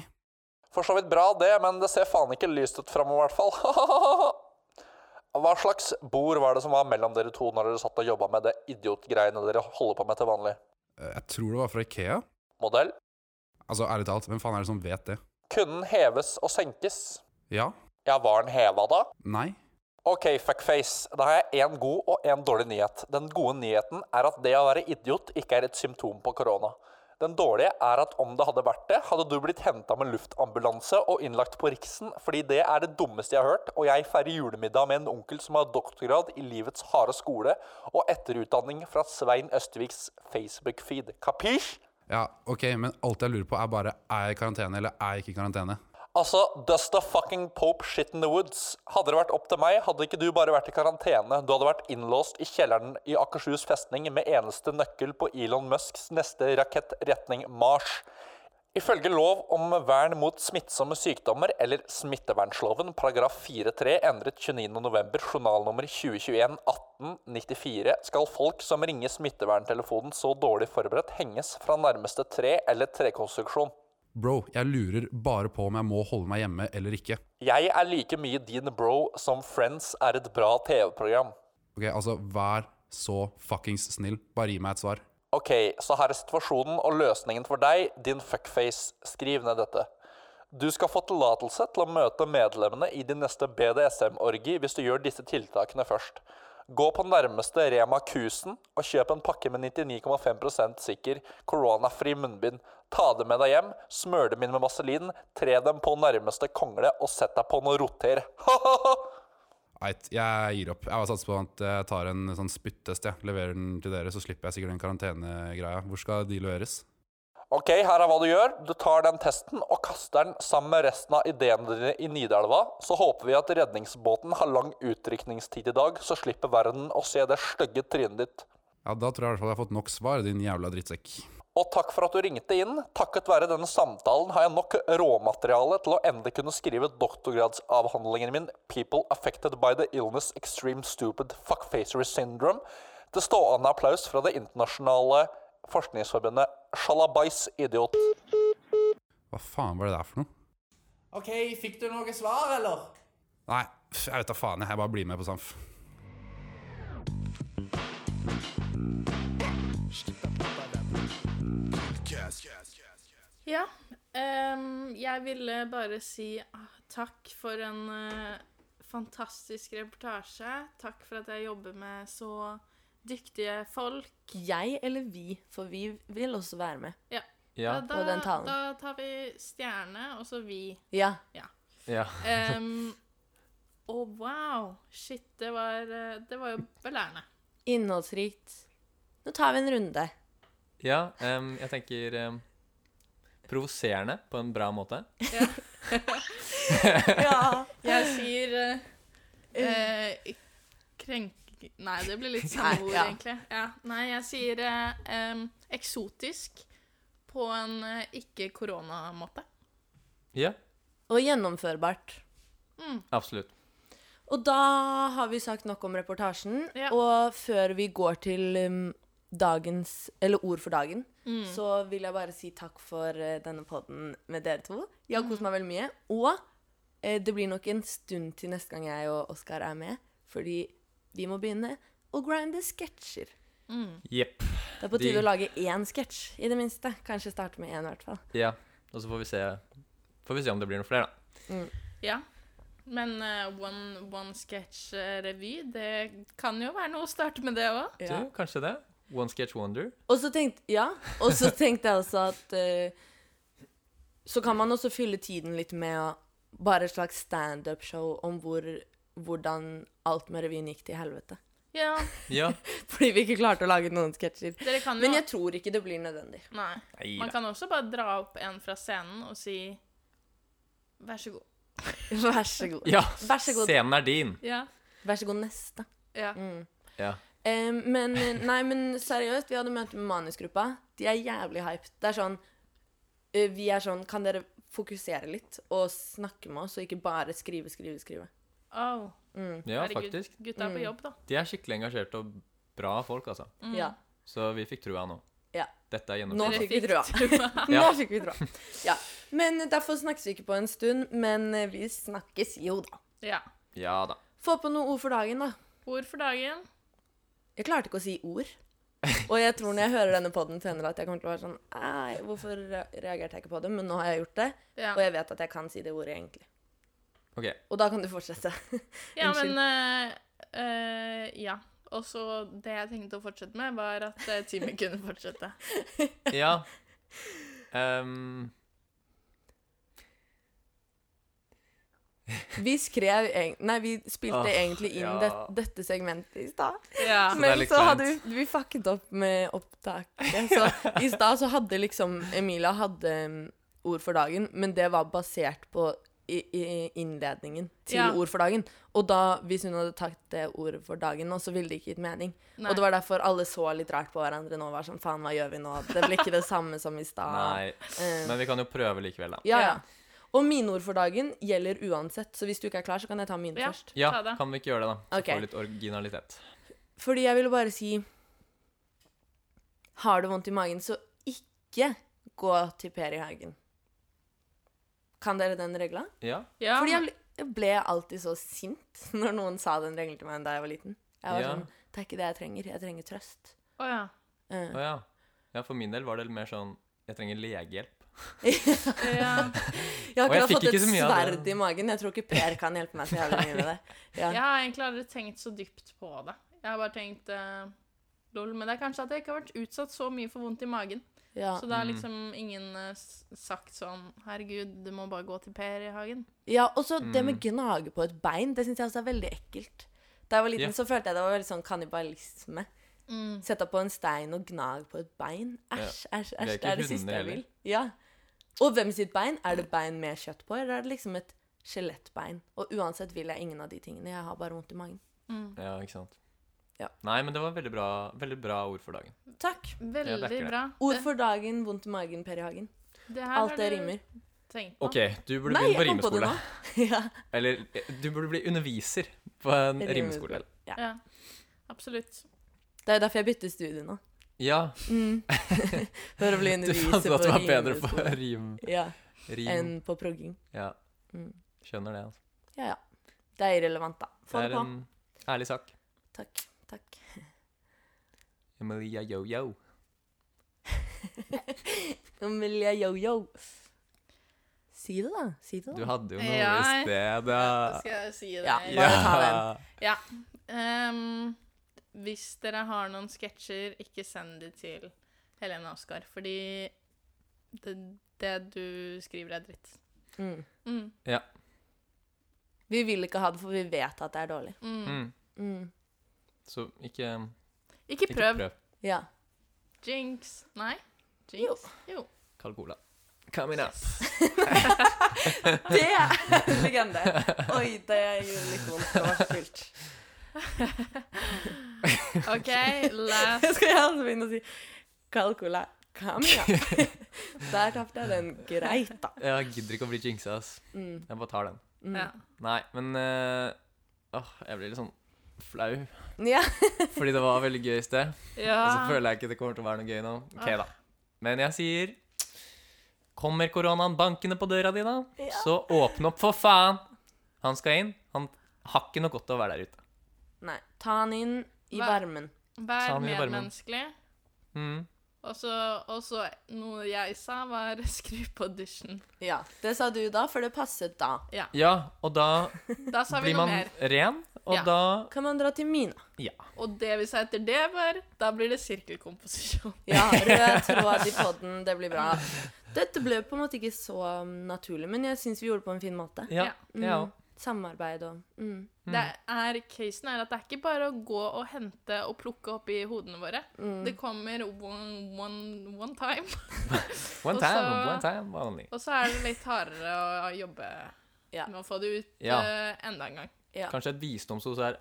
D: For så vidt bra det, men det ser faen ikke lyst ut framover, i hvert fall. Hva slags bord var det som var mellom dere to når dere satt og jobba med det idiotgreiene dere holder på med til vanlig?
E: Eh, Jeg tror det var fra Ikea.
D: Modell?
E: Altså, ærlig talt, hvem faen er det som vet det?
D: Kunne den heves og senkes?
E: Ja?
D: Ja, var den heva da?
E: Nei?
D: Ok, fuckface. Da har jeg én god og én dårlig nyhet. Den gode nyheten er at det å være idiot ikke er et symptom på korona. Den dårlige er at om det hadde vært det, hadde du blitt henta med luftambulanse og innlagt på Riksen, fordi det er det dummeste jeg har hørt, og jeg feirer julemiddag med en onkel som har doktorgrad i livets harde skole og etterutdanning fra Svein Østviks Facebook-feed. Kapisj?
E: Ja, ok, men alt jeg lurer på er bare er jeg i karantene eller er jeg ikke i karantene?
D: Altså, does the fucking pope shit in the woods? Hadde det vært opp til meg, hadde ikke du bare vært i karantene. Du hadde vært innlåst i kjelleren i Akershus festning med eneste nøkkel på Elon Musks neste rakett retning Mars. Ifølge lov om vern mot smittsomme sykdommer eller smittevernloven paragraf 4-3 endret 29.11. journalnummer 2021-1894 skal folk som ringer smitteverntelefonen så dårlig forberedt, henges fra nærmeste tre eller trekonstruksjon.
E: Bro, jeg lurer bare på om jeg må holde meg hjemme eller ikke.
D: Jeg er like mye din bro som Friends er et bra TV-program.
E: Ok, altså, vær så fuckings snill. Bare gi meg et svar.
D: Ok, så her er situasjonen og løsningen for deg, din fuckface. Skriv ned dette. Du skal få tillatelse til å møte medlemmene i din neste BDSM-orgi hvis du gjør disse tiltakene først. Gå på nærmeste Rema 1000 og kjøp en pakke med 99,5 sikker koronafri munnbind. Ta det med deg hjem, smør dem inn med vaselin, tre dem på nærmeste kongle og sett deg på noe roter.
E: Eit, jeg gir opp. Jeg har satset på at jeg tar en sånn spyttest, jeg. Leverer den til dere, så slipper jeg sikkert den karantenegreia. Hvor skal de leveres?
D: Ok, her er hva du gjør. Du tar den testen og kaster den sammen med resten av ideene dine i Nidelva. Så håper vi at redningsbåten har lang utrykningstid i dag, så slipper verden å se det stygge trynet ditt.
E: Ja, da tror jeg i hvert fall jeg har fått nok svar, din jævla drittsekk.
D: Og takk for at du ringte inn. Takket være denne samtalen har jeg nok råmateriale til å endelig kunne skrive doktorgradsavhandlingen min 'People Affected by the Illness Extreme Stupid Fuckfacery Syndrome' til stående applaus fra det internasjonale forskningsforbundet Sjalabais idiot.
E: Hva faen var det der for noe?
F: Ok, fikk du noe svar, eller?
E: Nei, pff, jeg vet da faen. jeg. Jeg bare blir med på Samf.
C: Ja. ehm, jeg ville bare si ah, takk for en eh, fantastisk reportasje. Takk for at jeg jobber med så dyktige folk.
B: Jeg eller vi, for vi vil også være med.
C: Ja.
A: Ja.
C: da,
B: Og den talen.
C: da tar vi stjerne, og så vi.
B: Ja.
A: ja.
C: Ehm, og wow! Shit, det var, eh, det var jo belærende.
B: Innholdsrikt. Nå tar vi en runde.
A: ja em, jeg tenker em, provoserende på en bra måte.
B: Ja.
C: Jeg sier eh, eh, krenk... Nei, det blir litt samme
B: Nei,
C: ord,
B: ja.
C: egentlig. Ja. Nei, jeg sier eh, em, eksotisk på en eh, ikke-koronamåte.
A: Ja,
B: Og gjennomførbart.
A: absolutt.
B: Og da har vi sagt nok om reportasjen.
C: Ja.
B: Og før vi går til um, dagens, eller ord for dagen, så vil jeg bare si takk for eh, denne podden med dere to. Jeg har kost meg veldig mye. Og eh, det blir nok en stund til neste gang jeg og Oskar er med, fordi vi må begynne å grinde sketsjer.
A: Jepp.
B: Det er på
A: De-
B: tide å lage én sketsj, i det minste. Kanskje starte med én, i hvert fall.
A: Ja. Og så får vi se Får vi se om det blir noen flere, da.
C: Ja. Men eh, one, one sketch-revy, det kan jo være noe å starte med det òg.
A: Du, kanskje det. One sketch wonder.
B: Og så tenkte, ja, og så tenkte jeg også at eh, Så kan man også fylle tiden litt med å- bare et slags standup-show om hvor, hvordan alt med revyen gikk til helvete.
C: Ja,
A: Ja.
B: Fordi vi ikke klarte å lage noen sketsjer.
C: dere kan jo
B: Men jeg tror ikke det blir nødvendig.
C: Nei.
A: Nei
C: Man
A: da.
C: kan også bare dra opp en fra scenen og si Vær så god.
B: Vær så god.
A: Ja.
B: Vær så god.
A: Scenen er din.
C: Ja.
B: Vær så god neste.
C: ja.
B: Mm.
A: Ja.
B: Eh, men eh, nei, men seriøst, vi hadde møte med manusgruppa. De er jævlig hyped. Det er sånn eh, Vi er sånn Kan dere fokusere litt og snakke med oss, og ikke bare skrive, skrive, skrive?
C: Oh,
A: ja,
C: herregud,
A: faktisk.
B: Mm.
C: Gutta er på jobb, da.
A: De er skikkelig engasjerte og bra folk, altså.
B: Ja.
A: Så vi fikk trua nå.
B: Ja.
A: Dette er
B: Nå
A: gjennomført.
B: fikk vi trua. Nå
A: Ja.
B: fikk vi trua. Ja. Men derfor snakkes vi ikke på en stund, men vi snakkes jo, da.
C: Ja.
A: Ja da.
B: Få på noen ord for dagen, da.
C: Ord for dagen.
B: Jeg klarte ikke å si ord. Og jeg tror når jeg hører denne podden senere, at jeg kommer til å være sånn Nei, hvorfor reagerte jeg ikke på det? Men nå har jeg gjort det,
C: Ja,
B: og jeg vet at jeg kan si det ordet, egentlig.
A: Ok.
B: Og da kan du fortsette.
C: ja men eh, eh, Ja. Og så det jeg tenkte å fortsette med, var at eh, Timmy kunne fortsette.
A: Ja. Ehm,
B: Vi skrev egen- Nei, vi
A: Åh,
B: spilte egentlig inn
A: ja.
B: det, dette segmentet i stad.
C: Ja.
A: Så det er
B: Men
A: litt
B: så hadde vi, vi fucket opp med opptaket. Så i stad så hadde liksom Emilia hadde mm, ord for dagen, men det var basert på i, i innledningen til
C: Ja.
B: ord for dagen. Og da, hvis hun hadde tatt det ordet for dagen nå, så ville det ikke gitt mening.
C: Nei.
B: Og det var derfor alle så litt rart på hverandre nå og var sånn faen, hva gjør vi nå? Det blir ikke det samme som i stad.
A: nei.
B: Eh,
A: Men vi kan jo prøve likevel, da.
B: ja,
C: Ja.
B: ja. Og mine ord for dagen gjelder uansett, så hvis du ikke er klar, så kan jeg ta mine
C: Ja.
B: først.
A: Ja,
C: Ta det.
A: kan vi ikke gjøre det, da? Så
B: Ok.
A: får vi litt originalitet.
B: Fordi jeg ville bare si Har du vondt i magen, så ikke gå til Per i hagen. Kan dere den regla?
A: Ja.
C: Ja.
B: Fordi jeg jeg ble alltid så sint når noen sa den regelen til meg da jeg var liten. Jeg var
A: Ja.
B: sånn Det er ikke det jeg trenger. Jeg trenger trøst.
C: Å, ja.
B: Eh,
A: Å ja. ja. For min del var det mer sånn Jeg trenger legehjelp.
C: ja.
B: jeg har
A: Og jeg
B: akkurat
A: fikk
B: fått
A: ikke
B: et
A: så mye av det.
B: sverd i magen. Jeg tror ikke Per kan hjelpe meg så jævlig mye med det. Ja.
C: Jeg har egentlig aldri tenkt så dypt på det. Jeg har bare tenkt eh, lol. Men det er kanskje at jeg ikke har vært utsatt så mye for vondt i magen.
B: Ja.
C: Så det
A: Mm.
C: er liksom ingen eh, s- sagt sånn Herregud, du må bare gå til Per i hagen.
B: Ja, og så det
A: Mm.
B: med gnage på et bein, det syns jeg også er veldig ekkelt. Da jeg var
A: Ja.
B: liten, så følte jeg det var veldig sånn kannibalisme.
C: Mm.
B: Sette på en stein og gnag på et bein. Æsj, æsj,
A: Vi er
B: æsj. Det
A: ikke
B: er det siste
A: hunder
B: jeg
A: heller.
B: vil. Ja. Og hvem sitt bein? Er det bein med kjøtt på, eller er det liksom et skjelettbein? Og uansett vil jeg ingen av de tingene. Jeg har bare vondt i magen.
C: Mm.
A: Ja, ikke sant.
B: Ja.
A: Nei, men det var veldig bra, veldig bra ord for dagen.
B: Takk.
A: Jeg backer
C: Veldig
A: det.
C: bra.
B: Ord for dagen, vondt i magen, Per i Hagen.
C: Det her
B: Alt
C: har
B: det
C: du
B: rimer.
C: Tenkt på.
A: OK, du burde
B: Nei,
A: begynne på
B: jeg kom på det
A: rimeskole.
B: nå. ja.
A: Eller eh, du burde bli underviser på en
B: Rimeskole.
A: rimeskole.
B: Ja.
C: Ja. Absolutt.
B: Det er jo derfor jeg bytter studie nå. Mm.
A: Ja,
B: For å bli
A: du
B: underviser
A: fant ut at det var bedre på
B: rimeskole.
A: rim.
B: Ja,
A: rim.
B: enn på progging.
A: Ja.
B: Mm.
A: Skjønner det. altså.
B: Ja, ja. Det er irrelevant, da. Få
A: Det
B: det,
A: er
B: på.
A: en ærlig sak.
B: Takk. Takk.
A: Emilia yo-yo.
B: Amelia yo-yo. Si det, da. Si det,
A: Du
B: da.
A: hadde jo noe
C: Ja.
A: i sted.
C: Da
A: da.
C: skal jeg si det.
B: Ja.
C: Ja.
B: Bare ta den.
C: Ehm, hvis dere har noen sketsjer, ikke send de til Helene og Oskar, fordi det, det du skriver, er dritt.
B: Mm.
C: Mm.
B: Vi vil ikke ha det, for vi vet at det er dårlig.
C: Mm.
A: Mm.
B: Mm.
A: Så ikke,
C: Ikke
A: ikke
C: prøv.
A: prøv
B: Ja.
C: Jinx. Nei? Jinx? Jo.
A: Carl Cola. Coming up.
B: Det er en legende. Oi, det gjorde litt vondt. Det var fullt.
C: OK, last
B: Jeg skal gjerne begynne å si Calcula camia. Der tapte jeg den greit, da.
A: Jeg gidder ikke å bli jinxa, ass.
B: Mm.
A: Jeg bare tar den.
B: Mm.
C: ja.
A: Nei, men eh, Åh, jeg blir litt sånn flau.
B: Ja.
A: Fordi det var veldig gøy i sted. Og så
C: ja.
A: føler jeg ikke det kommer til å være noe gøy nå. Ok da. Men jeg sier Kommer koronaen bankende på døra di, da,
B: Ja.
A: så åpne opp, for faen! Han skal inn. Han har ikke noe godt av å være der ute.
B: Nei. Ta den inn i
C: Hva-
B: varmen.
C: Vær
A: Sand i varmen.
C: medmenneskelig.
A: Mm.
C: Og så og så noe jeg sa, var skru på dusjen.
B: Ja. Det sa du da, for det passet da.
A: Ja, og da
C: Da sa vi
A: blir
C: noe
A: man
C: mer.
A: ren, og
C: Ja.
A: da
B: Kan man dra til Mina?
A: Ja.
C: Og det vi sa etter det, var Da blir det sirkelkomposisjon.
B: Ja, rød tråd i podden, det blir bra. Dette ble på en måte ikke så um, naturlig, men jeg syns vi gjorde det på en fin måte.
A: Ja.
C: Ja.
A: ja. ja.
B: Samarbeid og mm.
C: Det er, casen er at det er ikke bare å gå og hente og plukke opp i hodene våre.
B: Mm.
C: Det kommer one, one, one time.
A: One
C: Og
A: time,
C: så-
A: one time only.
C: Og så er det litt hardere å jobbe
B: Ja.
C: med å få det ut
A: Ja.
C: eh, enda en gang.
B: Ja.
A: Kanskje et visdomsord så er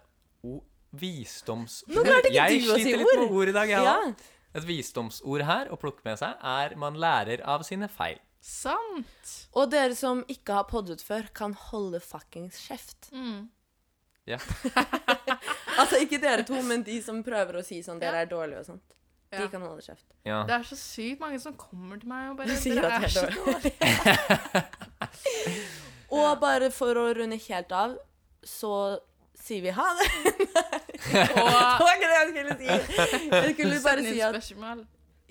A: o visdomsord.
B: Nå klarte ikke
A: jeg
B: du å si
A: sliter litt med
B: ord.
A: ord i dag, jeg
B: Ja.
A: da. Et visdomsord her å plukke med seg er man lærer av sine feil.
C: Sant!
B: Og dere som ikke har poddet før, kan holde fuckings kjeft.
C: Mm.
A: Ja.
B: Altså ikke dere to, men de som prøver å si sånn
C: Ja.
B: dere er dårlige og sånt.
C: Ja.
B: De kan holde kjeft.
A: Ja.
C: Det er så sykt mange som kommer til meg og bare
B: De sier
C: dere
B: at jeg
C: så
B: er dårlig. Og bare for å runde helt av, så sier vi ha det. Det
C: Og
B: var ikke det jeg skulle si. Jeg skulle bare
C: send
B: si
C: inn
B: at
C: spørsmål.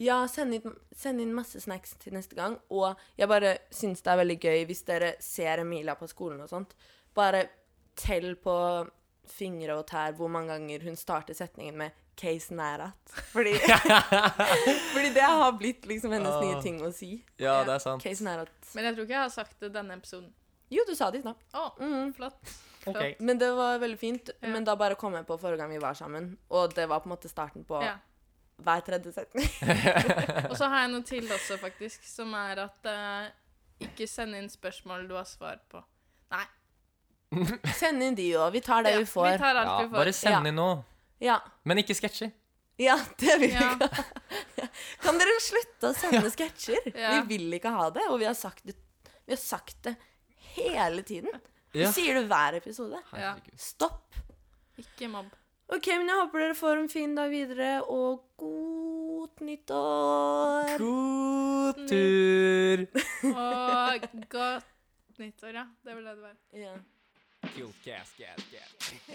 B: ja, send inn, send inn masse snacks til neste gang. Og jeg bare syns det er veldig gøy hvis dere ser Emilia på skolen og sånt. Bare tell på fingre og tær hvor mange ganger hun starter setningen med 'case nærat'. Fordi, fordi det har blitt liksom hennes nye ting å si.
A: ja, det er sant.
B: Case nærat.
C: Men jeg tror ikke jeg har sagt det denne episoden.
B: Jo, du sa det i stad.
C: Å,
B: Mm.
C: flott.
A: Ok.
B: Men det var veldig fint.
C: Ja.
B: Men da bare kom jeg på forrige gang vi var sammen, og det var på en måte starten på
C: Ja.
B: hver tredje setning.
C: Og så har jeg noe til også, faktisk, som er at eh, ikke send inn spørsmål du har svar på. Nei.
B: Send inn de òg. Vi tar det
C: Ja,
B: vi får.
C: Vi tar alt
A: Ja,
C: vi får. Mm.
A: bare send inn noe.
B: Ja.
A: Men ikke sketsjer.
B: ja, det vil vi
C: Ja.
B: ikke ha. Kan dere slutte å sende sketsjer? Vi
C: Ja.
B: vil ikke ha det, og vi har sagt det, vi har sagt det hele tiden. Vi
A: Ja.
B: sier det hver episode.
C: Ja.
A: Herregud.
B: Stopp.
C: Ikke mobb.
B: OK, men jeg håper dere får en fin dag videre, og godt nyttår.
A: God tur!
C: Og godt nyttår, ja. Det var det det var.
B: Ja.
A: Kult, gas, gas, gas.